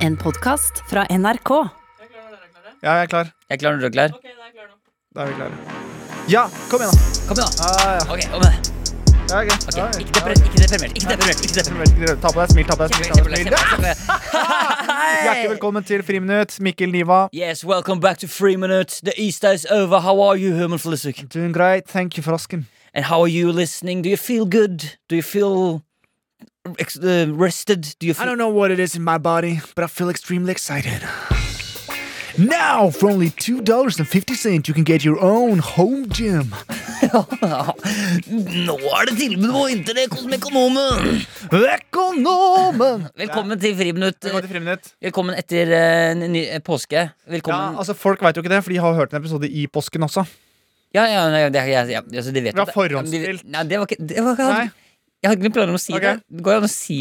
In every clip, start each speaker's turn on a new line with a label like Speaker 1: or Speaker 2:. Speaker 1: En podkast fra NRK.
Speaker 2: Ja, jeg er klar.
Speaker 3: Jeg er klar når du er klar.
Speaker 2: Da er vi klare. Ja, kom igjen, da.
Speaker 3: Kom igjen, da.
Speaker 2: Ah, ja.
Speaker 3: Ok, kom
Speaker 2: Ja, ok.
Speaker 3: igjen. Ok,
Speaker 2: Ja, ja.
Speaker 3: Ikke deprimert. Ikke
Speaker 2: Ah.
Speaker 3: deprimert. Ikke deprimert. Ikke deprimert.
Speaker 2: Ta på deg smil, ta på deg smil. Ta på deg, smil. Ja! Hjertelig
Speaker 3: Hjertelig
Speaker 2: velkommen til Friminutt. Mikkel Niva.
Speaker 3: Yes, welcome back to Free Minute. The Easter is over. How are you, Herman Flissuk?
Speaker 2: Doing great. Thank you for asking.
Speaker 3: And how are you listening? Do you feel good? Do you feel ex- uh, rested? Do you
Speaker 2: I
Speaker 3: feel
Speaker 2: don't know what it is in my body, but I feel extremely excited. Now, for only $2.50, you can get your own home gym.
Speaker 3: Nå er det tilbud på Internett hos Mekonomen!
Speaker 2: Økonomen!
Speaker 3: Velkommen til Friminutt.
Speaker 2: Velkommen til Friminutt.
Speaker 3: Velkommen etter eh, ny, eh, påske.
Speaker 2: Ja,
Speaker 3: Velkommen.
Speaker 2: altså Folk vet jo ikke det, for de har hørt en episode i påsken også.
Speaker 3: Ja, ja, nei, det, ja, ja, altså, de vet
Speaker 2: Vi har
Speaker 3: at det-
Speaker 2: forhåndsstilt.
Speaker 3: Nei, det var ikke, det var ikke
Speaker 2: Nei,
Speaker 3: Jeg hadde ikke noen planer om å si
Speaker 2: Ok.
Speaker 3: det. Det går jo an å si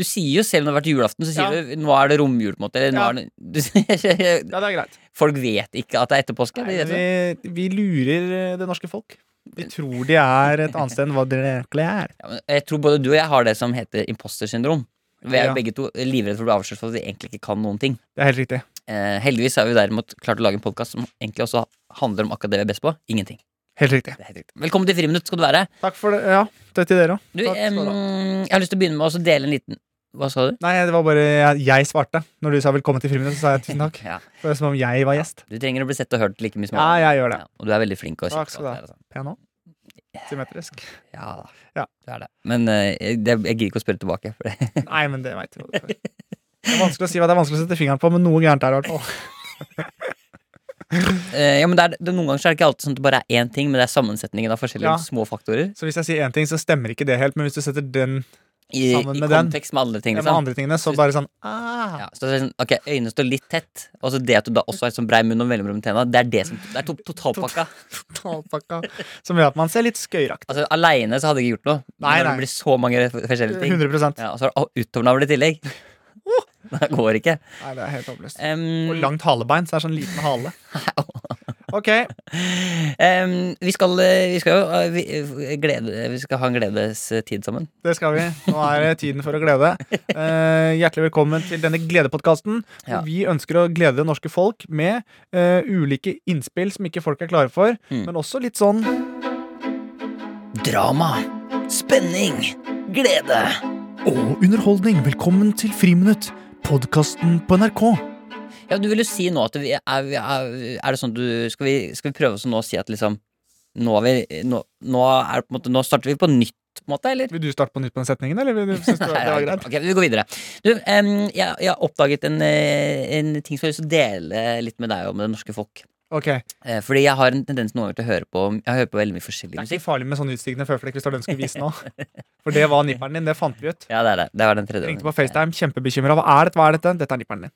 Speaker 3: Du sier jo selv om det har vært julaften, så sier
Speaker 2: Ja.
Speaker 3: du 'nå er det romjul', på en måte. Eller, nå
Speaker 2: Ja.
Speaker 3: er det, du, sier-
Speaker 2: ja, det er greit.
Speaker 3: folk vet ikke at det er etter påske.
Speaker 2: Nei,
Speaker 3: de vet det.
Speaker 2: men vi, vi lurer eh, det norske folk. De tror de er et annet sted enn hva de egentlig er.
Speaker 3: Ja, men jeg tror både du og jeg har det som heter imposter syndrom. Vi er
Speaker 2: Ja.
Speaker 3: begge to livredd for å bli avslørt for at vi egentlig ikke kan noen ting.
Speaker 2: Det er helt riktig.
Speaker 3: Eh, heldigvis har vi derimot klart å lage en podkast som egentlig også handler om akkurat det vi er best på. Ingenting.
Speaker 2: Helt riktig.
Speaker 3: Det er helt riktig. Velkommen til Friminutt skal du være.
Speaker 2: Takk for det. Ja, det er til dere òg.
Speaker 3: Du,
Speaker 2: Takk skal du ha.
Speaker 3: em, jeg har lyst til å begynne med å også dele en liten Hva sa du?
Speaker 2: Nei, det var bare jeg, jeg svarte. Når du sa velkommen til friminutt, så sa jeg tusen takk.
Speaker 3: Ja.
Speaker 2: Det var som om jeg var gjest.
Speaker 3: Du trenger å bli sett og hørt like mye som
Speaker 2: Ja, jeg gjør det.
Speaker 3: Ja, og du er veldig flink. Og
Speaker 2: Takk
Speaker 3: kjekk
Speaker 2: skal du
Speaker 3: og
Speaker 2: ha.
Speaker 3: alt det der, altså.
Speaker 2: Pen òg. Symmetrisk.
Speaker 3: Ja da.
Speaker 2: Ja.
Speaker 3: Det er det. Men eh, jeg- det, jeg gidder ikke å spørre tilbake. For det.
Speaker 2: Nei, men det veit du hva det er. Det er vanskelig å si hva det er vanskelig å sette fingeren på, men noe gærent er det i hvert fall.
Speaker 3: Eh, ja, men det er, det, noen ganger så er det ikke alltid sånn at det bare er én ting, men det er sammensetningen av forskjellige
Speaker 2: Ja.
Speaker 3: små faktorer.
Speaker 2: Så hvis jeg sier én ting, så stemmer ikke det helt, men hvis du setter den
Speaker 3: I,
Speaker 2: Sammen
Speaker 3: i
Speaker 2: med den.
Speaker 3: kontekst med andre ting.
Speaker 2: med
Speaker 3: Liksom.
Speaker 2: andre tingene, så bare sånn ah.
Speaker 3: Ja, så det er sånn, ok, Øynene står litt tett, og så det at du da også har sånn brei munn og mellomrom i tenna, det er det som, det er to, totalpakka.
Speaker 2: Totalpakka. Som gjør at man ser litt skøyeraktig
Speaker 3: Altså, Aleine så hadde jeg ikke gjort noe. Men
Speaker 2: Nei,
Speaker 3: Når
Speaker 2: nei.
Speaker 3: det blir så mange f- forskjellige ting.
Speaker 2: 100
Speaker 3: Ja, og så er det å- uttovnavl i tillegg. Det går ikke.
Speaker 2: Nei, det er helt håpløst.
Speaker 3: Em,
Speaker 2: Og langt halebein, så det er sånn liten hale. Ok,
Speaker 3: em, vi skal, eh, vi skal jo eh, vi, eh, glede, vi skal ha en gledestid sammen.
Speaker 2: det skal vi. Nå er det tiden for å glede. Eh, hjertelig velkommen til denne gledepodkasten. hvor
Speaker 3: Ja.
Speaker 2: Vi ønsker å glede det norske folk med eh, ulike innspill som ikke folk er klare for,
Speaker 3: Mm.
Speaker 2: men også litt sånn
Speaker 3: Drama, spenning, glede.
Speaker 2: Og underholdning. Velkommen til Friminutt, podkasten på NRK.
Speaker 3: Ja, du vil jo si nå at vi er, vi er, er det sånn du skal vi, skal vi prøve oss å nå si at liksom Nå, er vi, nå, nå, er, det på en måte, nå starter vi på nytt, på en måte, eller?
Speaker 2: Vil du starte på nytt på den setningen, eller vil du synes det var- det var greit?
Speaker 3: Ok, vi går videre. Du, em, jeg, jeg har oppdaget en, eh, en ting som jeg har lyst til å dele litt med deg og med det norske folk.
Speaker 2: Ok, Det
Speaker 3: Eh, Fordi jeg har en tendens noen ganger til å høre på Jeg hører på veldig mye forskjellig
Speaker 2: er
Speaker 3: musikk.
Speaker 2: ikke farlig med sånne utstigende føflekker hvis det er det du skulle vise nå. For det var nipperen din, det fant vi ut.
Speaker 3: Ja, det er det. Det var den tredje
Speaker 2: Ringte
Speaker 3: gangen.
Speaker 2: på FaceTime, kjempebekymra. Hva er dette? Hva er dette? Dette er nipperen din.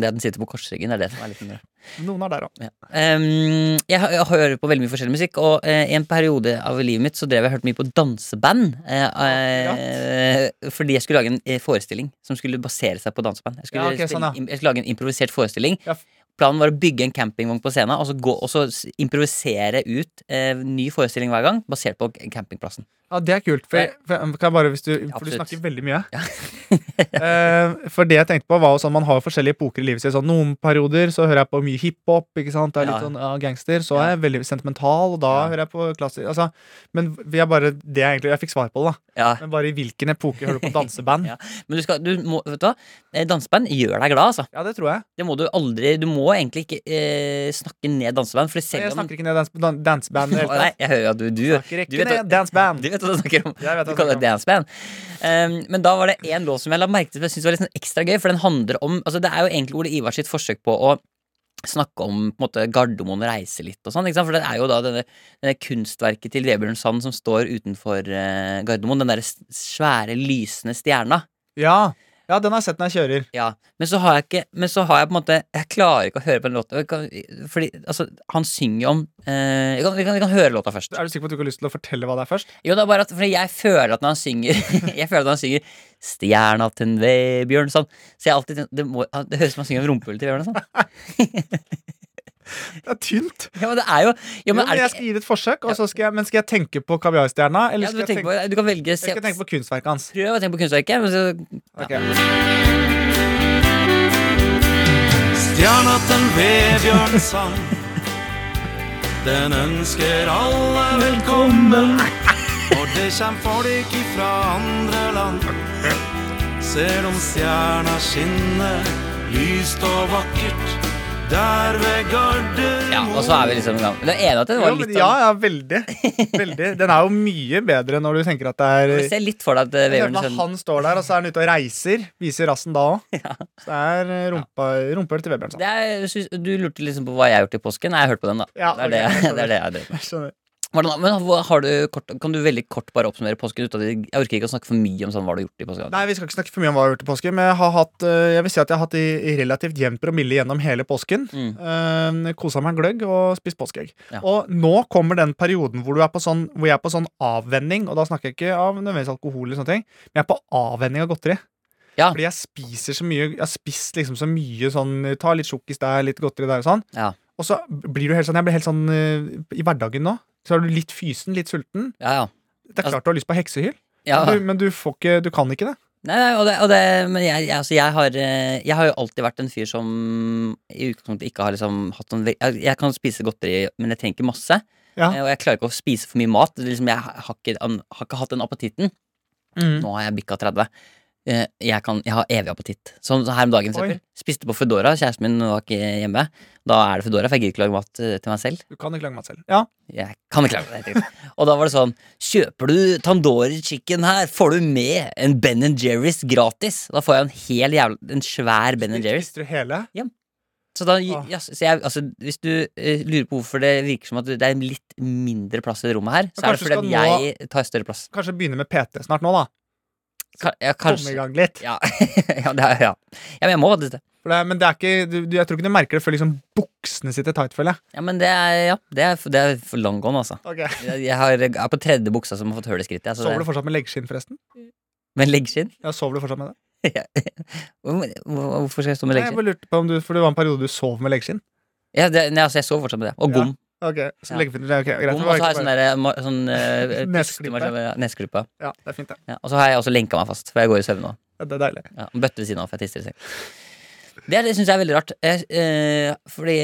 Speaker 3: Det at den sitter på korsryggen, det er det som er litt mer
Speaker 2: Noen er der òg.
Speaker 3: Ehm, jeg, hø- jeg hører på veldig mye forskjellig musikk, og eh, i en periode av livet mitt så drev jeg hørt mye på danseband. eh, eh, fordi jeg skulle lage en eh, forestilling som skulle basere seg på danseband. Jeg skulle,
Speaker 2: Ja, ok,
Speaker 3: spille-
Speaker 2: sånn, ja.
Speaker 3: im- jeg skulle lage en improvisert forestilling.
Speaker 2: Ja, f-
Speaker 3: Planen var å bygge en campingvogn på scenen og så, gå, og så s- improvisere ut eh, ny forestilling hver gang, basert på g- campingplassen.
Speaker 2: Ja, det er kult. For, jeg, for, jeg- kan jeg bare, hvis du, for du
Speaker 3: Eh, Absolutt.
Speaker 2: snakker veldig mye. Eh, for det jeg tenkte på, var jo sånn man har jo forskjellige epoker i livet sitt. Sånn, noen perioder så hører jeg på mye hiphop, ikke sant. Det er litt
Speaker 3: Ja.
Speaker 2: sånn ja, gangster. Så er jeg veldig sentimental, og da
Speaker 3: Ja.
Speaker 2: hører jeg på klassisk altså, Men vi er bare det jeg egentlig Jeg fikk svar på det, da.
Speaker 3: Ja.
Speaker 2: Men bare i hvilken epoke hører du på danseband?
Speaker 3: Ja.
Speaker 2: ja.
Speaker 3: Men du skal, du må, vet du hva? Eh, Danseband gjør deg glad, altså.
Speaker 2: det tror jeg.
Speaker 3: Det må du aldri Du må egentlig ikke eh, snakke ned danseband, for
Speaker 2: Men
Speaker 3: selv
Speaker 2: jeg
Speaker 3: om
Speaker 2: snakker ikke ned dans, dan- danseband. i det hele
Speaker 3: Nei,
Speaker 2: tatt.
Speaker 3: jeg hører jo at du, du
Speaker 2: Snakker
Speaker 3: du
Speaker 2: ikke
Speaker 3: vet hva-
Speaker 2: ned danseband.
Speaker 3: Du vet hva du snakker om.
Speaker 2: Jeg vet
Speaker 3: Du
Speaker 2: hva
Speaker 3: kaller
Speaker 2: jeg
Speaker 3: det danceband. Um, men da var det én låt som jeg la merke til som jeg syntes var litt sånn ekstra gøy. For den handler om altså Det er jo egentlig Ole Ivars sitt forsøk på å snakke om på en måte, Gardermoen og reise litt og sånn. ikke sant? For det er jo da denne, denne kunstverket til Vebjørn Sand som står utenfor eh, Gardermoen. Den derre s- svære, lysende stjerna.
Speaker 2: Ja. ja, den har jeg sett når jeg kjører.
Speaker 3: Ja, men så har jeg ikke Men så har jeg på en måte Jeg klarer ikke å høre på den låta. Jeg kan- Fordi altså, han synger jo om eh, vi, kan, vi, kan, vi kan høre låta først.
Speaker 2: Er du sikker på at du ikke har lyst til å fortelle hva det er først?
Speaker 3: Jo, det er bare at Fordi jeg føler at når han synger Jeg føler at når han synger 'Stjerna til en Vebjørn' sånn, Så jeg alltid tenker, det, må, det høres ut som han synger om rumpehullet til Vebjørn. Sånn.
Speaker 2: Det er tynt.
Speaker 3: Ja, men det er jo, ja,
Speaker 2: Jo,
Speaker 3: men
Speaker 2: men
Speaker 3: er det
Speaker 2: jeg
Speaker 3: ikke,
Speaker 2: skal gi det et forsøk, og så skal jeg, men skal jeg tenke på kaviarstjerna?
Speaker 3: ja,
Speaker 2: Eller
Speaker 3: du,
Speaker 2: skal, jeg
Speaker 3: tenker
Speaker 2: tenke,
Speaker 3: på, du kan velge
Speaker 2: jeg
Speaker 3: se,
Speaker 2: skal tenke på kunstverket hans?
Speaker 3: Prøv å tenke på kunstverket. Men så, ja.
Speaker 2: Ok.
Speaker 4: annet enn Vebjørn sang. Den ønsker alle velkommen, og det kjem folk ifra andre land. Ser om stjerna skinner, lyst og vakkert, der ved Gardermoen.
Speaker 3: Ja, og så er vi liksom i gang. Men Jeg er enig at det var
Speaker 2: Jo, men
Speaker 3: litt sånn-
Speaker 2: ja,
Speaker 3: av
Speaker 2: ja, veldig. veldig. Den er jo mye bedre når du tenker at det er
Speaker 3: Se litt for deg at eh,
Speaker 2: Jeg
Speaker 3: Vebjørn
Speaker 2: føler at
Speaker 3: Sønn
Speaker 2: Han står der, og så er han ute og reiser. Viser rassen da òg. Så det er eh, rumpa, rumpehull til Vebjørn.
Speaker 3: det er, synes- Du lurte liksom på hva jeg har gjort i påsken. Nei, jeg hørte på den, da.
Speaker 2: Ja,
Speaker 3: det, er
Speaker 2: ok,
Speaker 3: det,
Speaker 2: jeg skjønner.
Speaker 3: det er det jeg drev med.
Speaker 2: Sånn.
Speaker 3: Hvordan, men hva har du kort, Kan du veldig kort bare oppsummere påsken? Ut av det? Jeg orker ikke å snakke for mye om sånn hva du har gjort i påsken.
Speaker 2: Nei, Vi skal ikke snakke for mye om hva jeg har gjort i påsken, men jeg, har hatt, eh, jeg vil si at jeg har hatt i i relativt jevn promille gjennom hele påsken.
Speaker 3: Mm.
Speaker 2: Eh, Kosa meg en gløgg og spist påskeegg.
Speaker 3: Ja.
Speaker 2: Og nå kommer den perioden hvor, du er på sånn, hvor jeg er på sånn avvenning, og da snakker jeg ikke av nødvendigvis alkohol, eller sånne ting men jeg er på avvenning av godteri.
Speaker 3: Ja.
Speaker 2: Fordi jeg spiser så mye Jeg har spist liksom så mye sånn Ta litt sjokkis der, litt godteri der og sånn.
Speaker 3: Ja.
Speaker 2: Og så blir du helt sånn Jeg blir helt sånn eh, i hverdagen nå. Så er du litt fysen, litt sulten.
Speaker 3: Ja, ja.
Speaker 2: Det er
Speaker 3: Altså-
Speaker 2: klart du har lyst på heksehyl,
Speaker 3: ja.
Speaker 2: men, du, men du, får ikke, du kan ikke det.
Speaker 3: Nei, nei, og det, og det, men jeg, jeg, altså jeg, har, eh, jeg har jo alltid vært en fyr som i utgangspunktet ikke har liksom hatt sånn ve- Jeg, jeg kan spise godteri, men jeg trenger ikke masse.
Speaker 2: Ja.
Speaker 3: Eh, Og jeg klarer ikke å spise for mye mat. Det er Liksom, jeg har ikke, an- har ikke hatt den appetitten.
Speaker 2: Mm.
Speaker 3: Nå har jeg bikka 30. Eh, Jeg, kan, jeg har evig appetitt. Sånn som her om dagen. for
Speaker 2: Oi.
Speaker 3: eksempel. Spiste på Foodora. Kjæresten min var ikke hjemme. Da er det Foodora, for jeg gidder ikke lage mat eh, til meg selv.
Speaker 2: Du kan ikke lage mat selv. Ja.
Speaker 3: Jeg kan ikke lage det. Og da var det sånn Kjøper du Tandori chicken her, får du med en Ben Jerry's gratis. Da får jeg en hel jævla En svær Ben Jerry's.
Speaker 2: Spiser du hele?
Speaker 3: Så da
Speaker 2: Åh.
Speaker 3: ja, så jeg, altså, Hvis du eh, lurer på hvorfor det virker som at det er litt mindre plass i rommet her, så er
Speaker 2: kanskje
Speaker 3: det fordi
Speaker 2: skal nå-
Speaker 3: at jeg tar større plass.
Speaker 2: Kanskje begynne med PT snart nå, da.
Speaker 3: Ka- ja,
Speaker 2: Komme i
Speaker 3: kanskje
Speaker 2: gang litt.
Speaker 3: ja, ja, det er, ja. ja, men jeg må faktisk det.
Speaker 2: For det, er- men det er ikke, du, du, jeg tror ikke du merker det før liksom buksene sitter tight, føler jeg.
Speaker 3: Ja, men det er, ja, det er, det er for long gone, altså. Jeg, jeg, har, jeg er på tredje buksa som har fått hull i skrittet. Altså,
Speaker 2: Sover du
Speaker 3: det-
Speaker 2: fortsatt med leggskinn, forresten?
Speaker 3: med leggskinn?
Speaker 2: Ja, sover du fortsatt med det?
Speaker 3: Hvor- hvor- Hvorfor skal jeg stå med
Speaker 2: Nei, jeg
Speaker 3: leggskinn?
Speaker 2: bare lurte på om du, For det var en periode du sov med leggskinn?
Speaker 3: Ja, det, nei, altså, jeg sover fortsatt med det. Og
Speaker 2: Ja.
Speaker 3: gom.
Speaker 2: Ok, så
Speaker 3: Ja.
Speaker 2: leggefinner det er ok, greit.
Speaker 3: Bom,
Speaker 2: det var
Speaker 3: og så har jeg
Speaker 2: ikke
Speaker 3: sånn
Speaker 2: bare-
Speaker 3: derre ma- sånn, eh,
Speaker 2: Neseklype.
Speaker 3: pustemaskin- ja, Neseklype.
Speaker 2: Ja, det er fint, det.
Speaker 3: Ja, og så har jeg også lenka meg fast, for jeg går i søvn nå.
Speaker 2: Ja, det er deilig.
Speaker 3: Ja, og bøtte ved siden av, for jeg tisser i seng. Det, er- det syns jeg er veldig rart. Jeg, eh, fordi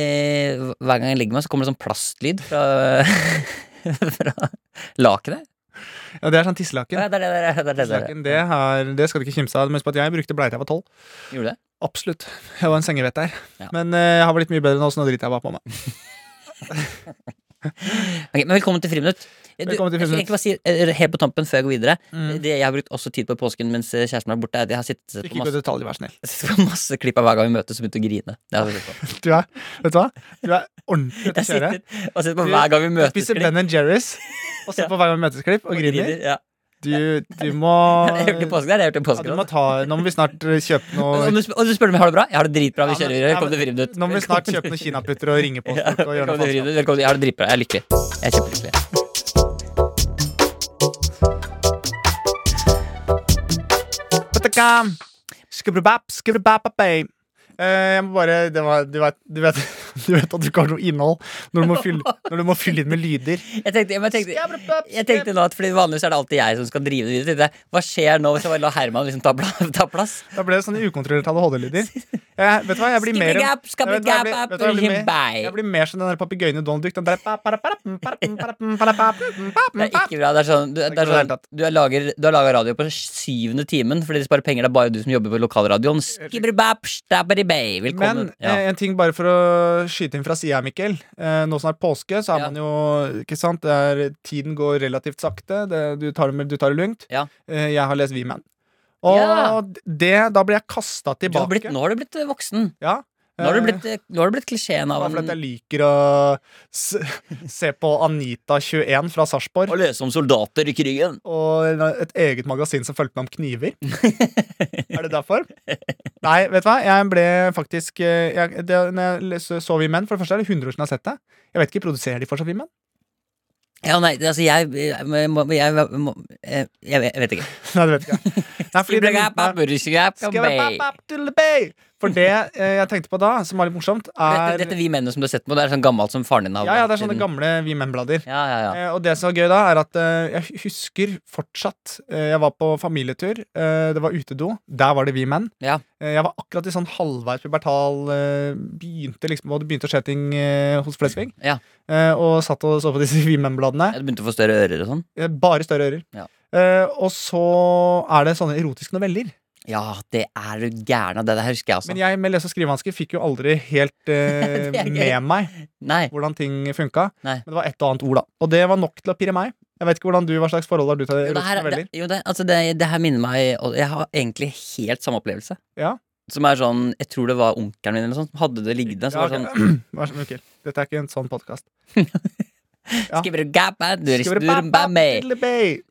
Speaker 3: hver gang jeg legger meg, så kommer det sånn plastlyd fra, fra lakenet.
Speaker 2: Ja, Det er sånn tisselaken.
Speaker 3: Ja, det er det det er det. er det, det, er
Speaker 2: Tisselaken, det, er- det skal du ikke kimse av. Men husk på at jeg brukte bleie til jeg var tolv.
Speaker 3: det. Gjorde det?
Speaker 2: Absolutt. Jeg var en sengevetter.
Speaker 3: Ja.
Speaker 2: Men eh, jeg har blitt mye bedre nå, så nå driter jeg bare på meg.
Speaker 3: Ok, men velkommen til Friminutt. Du,
Speaker 2: Velkommen til
Speaker 3: jeg skal
Speaker 2: Friminutt.
Speaker 3: egentlig bare si eh, helt på tampen før jeg går videre
Speaker 2: Mm.
Speaker 3: Det Jeg har brukt også tid på i påsken mens eh, kjæresten min er borte. er at Jeg har sittet og sett på
Speaker 2: Ikke gå i
Speaker 3: masse,
Speaker 2: detalj, vær snill.
Speaker 3: sett på masse klipp av hver gang vi møtes og begynt å grine. Det har jeg sett på.
Speaker 2: Du er, vet du hva? Du er ordentlig ute
Speaker 3: Jeg
Speaker 2: å kjøre.
Speaker 3: sitter og ser på
Speaker 2: Du-
Speaker 3: hver gang vi møtes.
Speaker 2: Spiser Ben Jerry's og ser
Speaker 3: Ja.
Speaker 2: på hver gang vi møtes klipp og griner.
Speaker 3: Ja.
Speaker 2: Du, du må
Speaker 3: Det har jeg gjort i påsken. Det har jeg gjort i
Speaker 2: ja,
Speaker 3: påsken
Speaker 2: du må
Speaker 3: også.
Speaker 2: ta, Nå må vi snart eh, kjøpe
Speaker 3: og,
Speaker 2: noe
Speaker 3: du, sp- og du spør om jeg har det bra? Jeg har det dritbra. Vi
Speaker 2: Ja, men-
Speaker 3: kjører videre.
Speaker 2: ja,
Speaker 3: Velkommen
Speaker 2: men-
Speaker 3: til Friminutt.
Speaker 2: Nå må vi snart kjøpe noen kinaputter og ringe på
Speaker 3: Ja,
Speaker 2: folk og gjøre noe
Speaker 3: velkommen til
Speaker 2: faenskap.
Speaker 3: Friminutt. Velkommen. Jeg har det dritbra. Jeg er lykkelig. Jeg er kjempelykkelig.
Speaker 2: Patakam. Skubbabap, skubbabapapei. Eh, jeg må bare det var, du, vet, du, vet, du vet at du ikke har noe innhold når du må fylle, når du må fylle inn med lyder.
Speaker 3: Jeg tenkte, ja, men jeg tenkte, jeg tenkte nå at fordi Vanligvis er det alltid jeg som skal drive det videre. Tenkte jeg, Hva skjer nå hvis jeg bare lar Herman liksom ta, pla- ta plass?
Speaker 2: Da ble det sånne ukontrollerte ADHD-lyder. Jeg- Vet du hva, jeg blir mer
Speaker 3: Skibidgap, skabidgap,
Speaker 2: Nei, vet du hva jeg blir- vet du hva jeg blir mer-
Speaker 3: himbai.
Speaker 2: Jeg blir mer som den der papegøyen i Donald Duck. Den der pa- para- para- para- para- para- para-
Speaker 3: Det er ikke bra. Det er sånn, du,
Speaker 2: ikke bra
Speaker 3: det er
Speaker 2: i det hele
Speaker 3: sånn,
Speaker 2: tatt.
Speaker 3: du, er lager, du har laga radio på syvende timen fordi de sparer penger. Det er bare du som jobber på lokalradioen. Skibidbap, stabadibay. Velkommen.
Speaker 2: Men
Speaker 3: ja.
Speaker 2: eh, en ting bare for å skyte inn fra sida, Mikkel. Eh, nå som det er påske, så er
Speaker 3: Ja.
Speaker 2: man jo Ikke sant? Det er, tiden går relativt sakte. Det, du, tar det, med- du tar det lugnt.
Speaker 3: Ja.
Speaker 2: Eh, jeg har lest V-Man. Og
Speaker 3: Ja.
Speaker 2: det, da blir jeg kasta
Speaker 3: Du har
Speaker 2: tilbake.
Speaker 3: blitt, nå har du blitt eh, voksen.
Speaker 2: Ja.
Speaker 3: Nå har du
Speaker 2: Eh,
Speaker 3: blitt, eh, nå har du blitt klisjeen
Speaker 2: det
Speaker 3: av
Speaker 2: er fordi at jeg
Speaker 3: en
Speaker 2: liker å se, se på Anita21 fra Sarpsborg.
Speaker 3: Å lese om soldater i krigen.
Speaker 2: og et eget magasin som fulgte med om kniver. er det derfor? Nei, vet du hva? Jeg ble faktisk eh, jeg, det, Når jeg les- så Vi menn, for det første er det 100 år siden jeg har sett det. Jeg vet ikke, Produserer de fortsatt Vi menn?
Speaker 3: Ja, nei, det- altså, jeg Jeg, må- jeg, må- eh, jeg, vet- jeg vet ikke.
Speaker 2: Nei, det vet jeg ikke. Nei, fordi det-
Speaker 3: Skibidgap,
Speaker 2: Nei.
Speaker 3: skibidgap,
Speaker 2: Skal jeg
Speaker 3: skabadibay.
Speaker 2: bap, bap, til the bay? For det eh, jeg tenkte på da, som var litt morsomt,
Speaker 3: Dette,
Speaker 2: er
Speaker 3: dette vi mennene som du har sett på, det er sånn gammelt som faren din har
Speaker 2: Ja, ja, det er sånne
Speaker 3: siden-
Speaker 2: gamle Vi Menn-blader.
Speaker 3: Ja, ja, ja.
Speaker 2: Eh, og det som er gøy da, er at eh, jeg husker fortsatt eh, Jeg var på familietur, eh, det var utedo, der var det vi menn.
Speaker 3: Ja.
Speaker 2: Eh, jeg var akkurat i sånn halvveis pubertal, eh, begynte liksom, og det begynte å skje ting eh, hos Flesvig.
Speaker 3: Ja.
Speaker 2: Eh, og satt og så på disse vi menn-bladene.
Speaker 3: Jeg begynte å få større ører og sånn.
Speaker 2: Eh, bare større ører.
Speaker 3: Ja.
Speaker 2: Eh, og så er det sånne erotiske noveller.
Speaker 3: Ja, det er du gæren av. Det der husker jeg altså. også.
Speaker 2: Men jeg med lese- og skrivevansker fikk jo aldri helt eh,
Speaker 3: Det er gøy.
Speaker 2: med meg
Speaker 3: Nei.
Speaker 2: hvordan ting funka.
Speaker 3: Nei.
Speaker 2: Men det var et og annet ord, da. Og det var nok til å pirre meg. Jeg vet ikke hvordan du, Hva slags forhold har du til
Speaker 3: Jo, det
Speaker 2: erotiske
Speaker 3: her, det,
Speaker 2: noveller?
Speaker 3: jo, det, altså det, det her minner meg og Jeg har egentlig helt samme opplevelse.
Speaker 2: Ja.
Speaker 3: Som er sånn Jeg tror det var onkelen min eller noe sånt som hadde det liggende. Så
Speaker 2: Ja,
Speaker 3: var det sånn
Speaker 2: ok. Vær så snill, Mikkel. Dette er ikke en sånn podkast. ja.
Speaker 3: Skibber gabba, duristurba meg.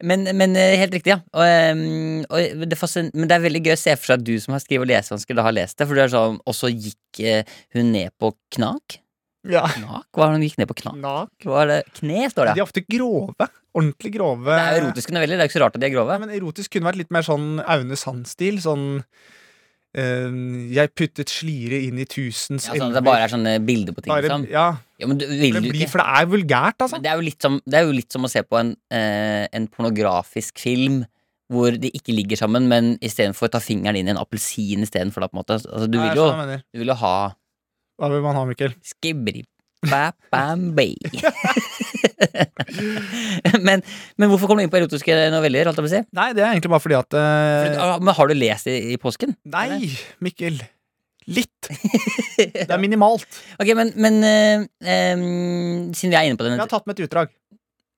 Speaker 3: Men, men eh, helt riktig, ja. Og, ehm, og det fascin- men det er veldig gøy å se for seg at du som har skrive- og lesevansker, da har lest det. For det er sånn Og så gikk eh, hun ned på knak.
Speaker 2: Ja.
Speaker 3: Knak? Hva var det hun gikk ned på knak?
Speaker 2: Nak.
Speaker 3: Hva er det? Kne, står
Speaker 2: De er
Speaker 3: det.
Speaker 2: ofte grove. Ordentlig grove.
Speaker 3: Det er erotiske noveller. Det er ikke så rart at de er grove.
Speaker 2: Nei, eh, men erotisk kunne vært litt mer sånn Aune Sand-stil. Sånn eh, Jeg puttet slire inn i tusens
Speaker 3: Ja, sånn, at det bare er sånne bilder på ting.
Speaker 2: Bare-
Speaker 3: Liksom.
Speaker 2: ja,
Speaker 3: Ja, men du,
Speaker 2: for
Speaker 3: vil
Speaker 2: det,
Speaker 3: du
Speaker 2: blir,
Speaker 3: ikke?
Speaker 2: for det er vulgært, altså.
Speaker 3: Men det, er jo litt som, det er jo litt som å se på en, eh, en pornografisk film hvor de ikke ligger sammen, men istedenfor ta fingeren inn i en appelsin istedenfor. da, på en måte. Altså, du,
Speaker 2: Nei, sånn jeg
Speaker 3: vil jo,
Speaker 2: skjønner hva du mener.
Speaker 3: du vil jo ha
Speaker 2: Hva vil man ha, Mikkel?
Speaker 3: skibri ba, bam, bay. men, men hvorfor kom du inn på erotiske noveller? Holdt jeg på å si?
Speaker 2: Nei, det er egentlig bare fordi at eh,
Speaker 3: For- Men Har du lest i, i påsken?
Speaker 2: Nei, Mikkel. Litt. Det er minimalt.
Speaker 3: Ok, Men, men eh, em, siden vi er inne på den
Speaker 2: Jeg har tatt med et utdrag.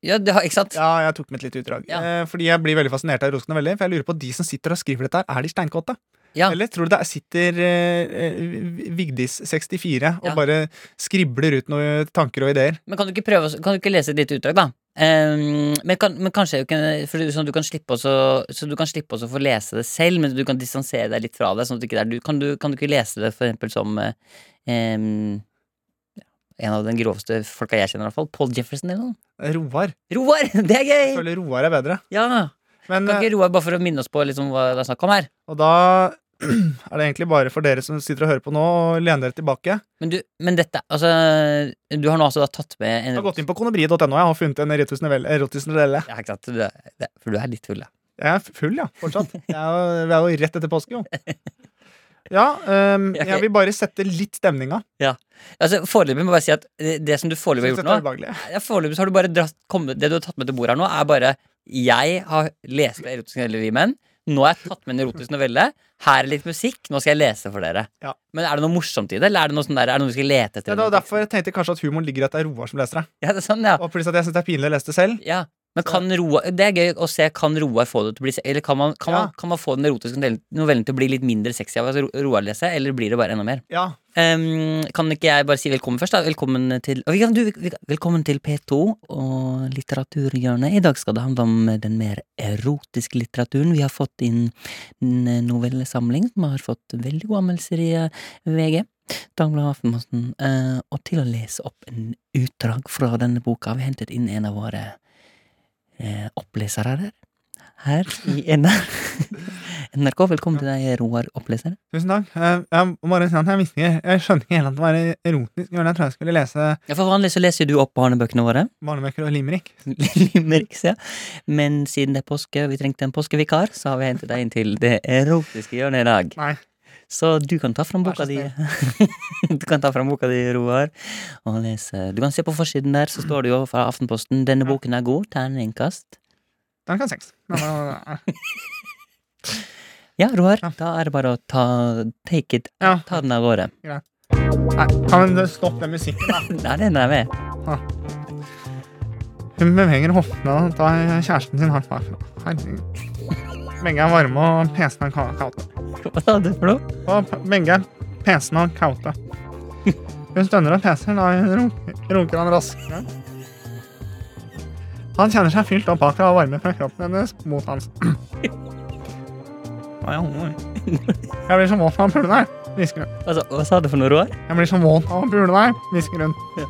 Speaker 3: ja, det har, Ikke sant?
Speaker 2: Ja, jeg tok med et lite utdrag.
Speaker 3: Ja.
Speaker 2: Eh, fordi jeg blir veldig fascinert av erotiske noveller. For jeg lurer på, de som sitter og skriver dette, her, er de steinkåte?
Speaker 3: Ja.
Speaker 2: Eller tror du det er- sitter eh, eh, Vigdis64 og
Speaker 3: Ja.
Speaker 2: bare skribler ut noen tanker og ideer?
Speaker 3: Men kan du ikke, prøve, å- kan du ikke lese et lite utdrag, da? Ehm, men, kan, men kanskje jeg kan- for sånn at du kan slippe oss å, Så du kan slippe oss å få lese det selv, men du kan distansere deg litt fra det. Sånn at det ikke er du, kan, du, kan du ikke lese det for eksempel som eh, ehm, ja, en av den groveste folka jeg kjenner, i hvert fall? Paul Jefferson eller noe?
Speaker 2: Roar.
Speaker 3: Roar! Det er
Speaker 2: Jeg
Speaker 3: gøy!
Speaker 2: føler Roar er bedre.
Speaker 3: Ja,
Speaker 2: Men,
Speaker 3: Kan ikke Roar, bare for å minne oss på liksom, hva det er snakk om her
Speaker 2: eh, og da er det egentlig bare for dere som sitter og hører på nå, og lener dere tilbake.
Speaker 3: Men, du, men dette Altså, du har nå altså da tatt med en
Speaker 2: Jeg har gått inn på konobriet.no jeg, og funnet en erotisk novelle- erotisk novelle.
Speaker 3: Ja, ikke sant? Du, er- det, for du er litt full, ja.
Speaker 2: Jeg er full, ja. Fortsatt. Jeg er jo, vi er jo rett etter påske, jo. Ja, ehm,
Speaker 3: Jeg-
Speaker 2: jeg vil bare sette litt stemninga.
Speaker 3: Altså, foreløpig må jeg bare si at det, det som du foreløpig har
Speaker 2: Synes dette
Speaker 3: gjort nå
Speaker 2: er ubehagelig.
Speaker 3: Ja, Foreløpig så har du bare dratt, kommet, Det du har tatt med til bordet her nå, er bare Jeg har lest på erotisk novelle Vi menn. Nå har jeg tatt med en erotisk novelle. Her er litt musikk. Nå skal jeg lese for dere.
Speaker 2: Ja.
Speaker 3: Men er det noe morsomt i det, eller er det noe, sånn der, er det noe vi skal
Speaker 2: Ja,
Speaker 3: lete etter?
Speaker 2: det var derfor jeg tenkte kanskje at humoren ligger i at det er Roar som leser det.
Speaker 3: Ja, det er sånn, ja.
Speaker 2: Og pluss at jeg syns det er pinlig å lese det selv.
Speaker 3: ja. Men kan Roar, Det er gøy å se kan Roar få det til å bli se- Eller kan man, kan
Speaker 2: Ja.
Speaker 3: man, kan man få den erotiske novellen- novellen til å bli litt mindre sexy av at Ro- Roar leser, eller blir det bare enda mer?
Speaker 2: Ja,
Speaker 3: Ehm, kan ikke jeg bare si velkommen først, da? Velkommen til, og vi kan, du, vi, kan- velkommen til P2 og litteraturhjørnet. I dag skal det handle om den mer erotiske litteraturen. Vi har fått inn en novellesamling som har fått veldig gode anmeldelser i eh, VG. Dagbladet Aftenposten. Eh, og til å lese opp en utdrag fra denne boka har vi hentet inn en av våre eh, opplesere her. Her i NRK. Velkommen til deg, Roar, oppleser.
Speaker 2: tusen takk. Jeg, jeg, må bare si at jeg, visste ikke, jeg skjønte ikke helt at det var erotisk. men Jeg tror jeg skulle lese
Speaker 3: Ja, For vanlig så leser jo du opp barnebøkene våre.
Speaker 2: barnebøker og limerick.
Speaker 3: Limericks, ja. Men siden det er påske, og vi trengte en påskevikar, så har vi hentet deg inn til det erotiske hjørnet i dag.
Speaker 2: Nei.
Speaker 3: Så du kan ta fram
Speaker 2: Vær
Speaker 3: boka
Speaker 2: så
Speaker 3: di. du kan ta fram boka di, Roar, og lese. Du kan se på forsiden der, så står det jo fra Aftenposten 'Denne
Speaker 2: Ja.
Speaker 3: boken er god. Terningkast'.
Speaker 2: Den kan sex. Nei, eh, nei, nei, nei.
Speaker 3: Ja, Roar,
Speaker 2: Ja.
Speaker 3: da er det bare å ta take it.
Speaker 2: Ja.
Speaker 3: Ta den av gårde.
Speaker 2: Nei, Kan du stoppe den musikken, da?
Speaker 3: Der er den der med.
Speaker 2: Hun beveger hoftene og tar kjæresten sin hardt herfra. Herregud. Begge er varme, og pesen er ka- kald.
Speaker 3: Hva sa du for noe?
Speaker 2: Og p- begge er pesende og kaute. Hun stønner og peser, da hun ro- runker han raskere. Han kjenner seg fylt opp bakfra og varme fra kroppen hennes mot hans. Hva er jeg holder med? Jeg blir så våt av å pule deg, hvisker hun.
Speaker 3: Hva sa, Altså, hva sa du for noe, Roar?
Speaker 2: Jeg blir så våt av å pule deg, hvisker hun.
Speaker 3: Ja.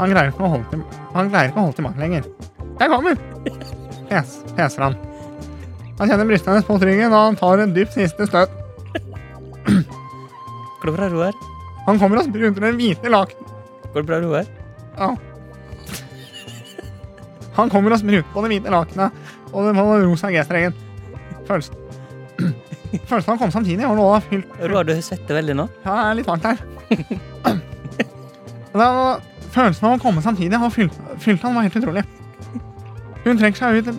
Speaker 2: Han greier ikke å holde til, han greier ikke å holde til meg lenger. Jeg kommer! Pes, peser han. Han kjenner brystet hennes på tryggen, og han tar en dypt siste støt.
Speaker 3: Går det bra, Roar?
Speaker 2: Han kommer og spyr under den hvite laken.
Speaker 3: Går det bra, Roar?
Speaker 2: Ja. Han kommer og spyr rundt på det hvite lakenet og den rosa G-strengen. Følelsen Følelsen av å komme samtidig har noe av fylt
Speaker 3: Roar, du svetter veldig nå.
Speaker 2: Ja, det er litt varmt her. Men det er- Følelsen av å komme samtidig har fylt, fylt han var helt utrolig. Hun trekker seg ut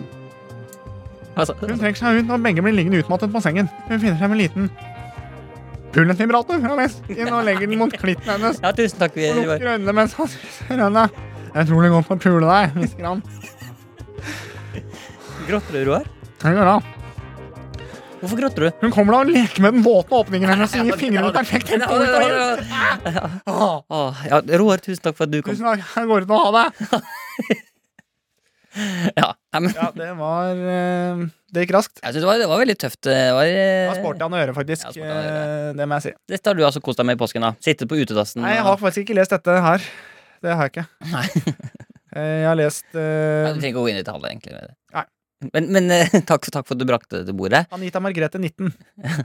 Speaker 3: Altså,
Speaker 2: Hun trekker seg ut, og begge blir liggende utmattet på sengen. Hun finner frem en liten pullenfibrator fra vesken og legger den mot klitten hennes.
Speaker 3: ja, tusen takk, vi-
Speaker 2: Og
Speaker 3: Roar.
Speaker 2: lukker øynene mens han spiser øynene. Jeg tror det går for å pule deg, hvisker han.
Speaker 3: Gråter du, Roar?
Speaker 2: Det går bra.
Speaker 3: Hvorfor gråter du?
Speaker 2: Hun kommer da og leker med den våte åpningen hennes og gir fingrene et perfekt tempo. ut av henne. Åh,
Speaker 3: Åh, ja, Roar, tusen takk for at du kom.
Speaker 2: Tusen takk, jeg går ut og ha det.
Speaker 3: Ja, nei, men,
Speaker 2: Ja, det var eh, Det gikk raskt.
Speaker 3: jeg synes det, var, det var veldig tøft. Det var,
Speaker 2: Det var sporty han å gjøre, faktisk.
Speaker 3: Eh, Ja, sporty han å gjøre.
Speaker 2: Eh, Det må jeg si.
Speaker 3: Dette har du altså kost deg med i påsken, da. Sittet på utedassen.
Speaker 2: Nei, jeg
Speaker 3: og-
Speaker 2: har faktisk ikke lest dette her. Det har jeg ikke.
Speaker 3: Nei.
Speaker 2: Eh, Jeg har lest
Speaker 3: Ja,
Speaker 2: eh,
Speaker 3: Du trenger ikke å gå inn i detaljer, egentlig. Med det.
Speaker 2: Nei.
Speaker 3: Men, men eh, takk, takk for at du brakte det til bordet.
Speaker 2: Anita Margrethe 19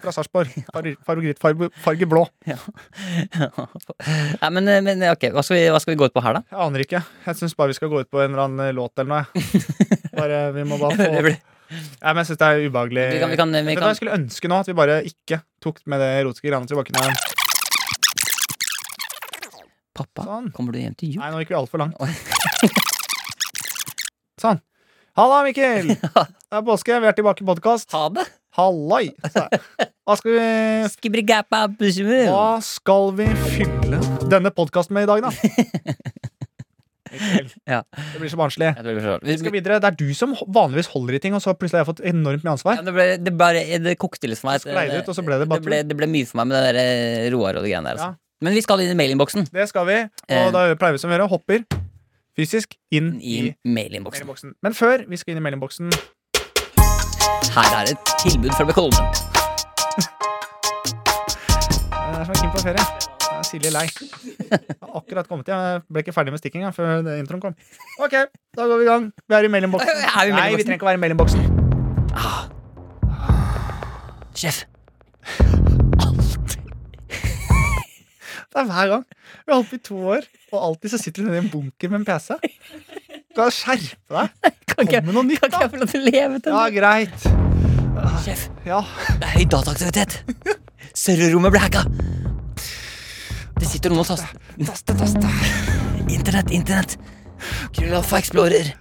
Speaker 2: fra Sarpsborg. Far- Favorittfarge farge blå.
Speaker 3: Nei, men, eh, men ok, hva skal, vi, hva skal vi gå ut på her, da?
Speaker 2: Jeg aner ikke. Jeg syns bare vi skal gå ut på en eller annen låt eller noe. jeg. Bare, vi må bare
Speaker 3: Det
Speaker 2: få
Speaker 3: blir-
Speaker 2: Nei, men jeg syns det er ubehagelig.
Speaker 3: Vi kan, vi kan, vi
Speaker 2: Vet du hva
Speaker 3: kan
Speaker 2: jeg skulle ønske nå? At vi bare ikke tok med det erotiske greiene tilbake. Nei,
Speaker 3: Pappa,
Speaker 2: Sånn.
Speaker 3: kommer du hjem til jul?
Speaker 2: nei nå gikk vi altfor langt. Sånn. Halla, Mikkel! Det er påske, vi er tilbake i podkast.
Speaker 3: Ha det!
Speaker 2: Halloi! sa jeg. Hva skal vi
Speaker 3: Skibrigapa, bussjumur.
Speaker 2: Hva skal vi fylle denne podkasten med i dag, da? Mikkel.
Speaker 3: Ja.
Speaker 2: Det blir så barnslig.
Speaker 3: Jeg tror det blir så rart. Vi-
Speaker 2: Vi skal videre. Det er du som vanligvis holder i ting, og så plutselig har jeg fått enormt mye ansvar.
Speaker 3: Ja, det, ble, det, bare, det kokte litt for meg.
Speaker 2: Så sklei det ut, og så ble det bare
Speaker 3: det, ble, det ble mye for meg med det der Roar og de greiene der. Altså.
Speaker 2: Ja.
Speaker 3: Men vi skal inn i mailinnboksen.
Speaker 2: Det skal vi,
Speaker 3: Eh.
Speaker 2: og da pleier vi som vi gjør, hopper fysisk inn i
Speaker 3: I mailinnboksen.
Speaker 2: mailinnboksen. Men før vi skal inn i eh, mailinnboksen
Speaker 3: Her er et tilbud fra Bekolmen.
Speaker 2: Det er som en Kim på ferie. Jeg er Silje lei. Jeg har akkurat kommet hjem. Jeg ble ikke ferdig med stikkinga før det introen kom. Ok, da går vi i gang. Vi er i mailinnboksen.
Speaker 3: Er vi i mailinnboksen?
Speaker 2: Nei, vi trenger ikke å være i mailinnboksen.
Speaker 3: Sjef.
Speaker 2: Det er hver gang. Vi har holdt på i to år, og alltid så sitter du nede i en bunker med en PC. Skal du skjerpe deg?
Speaker 3: Kan ikke,
Speaker 2: Kom med noe nytt,
Speaker 3: kan ikke jeg få lov til å leve til
Speaker 2: Ja, greit.
Speaker 3: Sjef,
Speaker 2: Ja.
Speaker 3: det er høy dataaktivitet. Serverrommet ble hacka. Det sitter noen og taster.
Speaker 2: Taste, taste.
Speaker 3: Internett, internett. Krøllalfa Explorer.